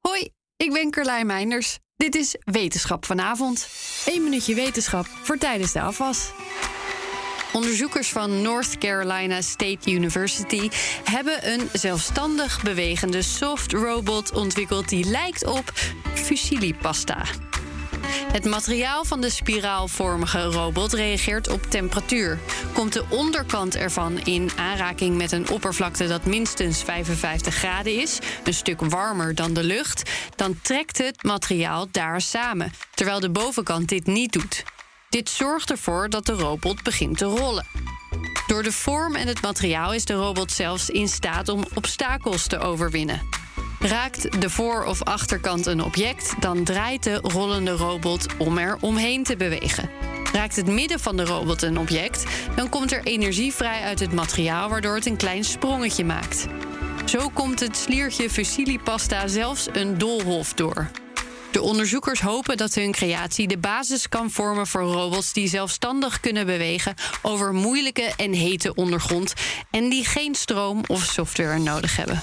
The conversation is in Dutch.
Hoi, ik ben Carlijn Meinders. Dit is Wetenschap vanavond. 1 minuutje wetenschap voor tijdens de afwas. Onderzoekers van North Carolina State University hebben een zelfstandig bewegende soft robot ontwikkeld die lijkt op fusilipasta. Het materiaal van de spiraalvormige robot reageert op temperatuur. Komt de onderkant ervan in aanraking met een oppervlakte dat minstens 55 graden is, een stuk warmer dan de lucht, dan trekt het materiaal daar samen, terwijl de bovenkant dit niet doet. Dit zorgt ervoor dat de robot begint te rollen. Door de vorm en het materiaal is de robot zelfs in staat om obstakels te overwinnen. Raakt de voor- of achterkant een object, dan draait de rollende robot om er omheen te bewegen. Raakt het midden van de robot een object, dan komt er energie vrij uit het materiaal waardoor het een klein sprongetje maakt. Zo komt het sliertje fusilipasta zelfs een doolhof door. De onderzoekers hopen dat hun creatie de basis kan vormen voor robots die zelfstandig kunnen bewegen over moeilijke en hete ondergrond en die geen stroom of software nodig hebben.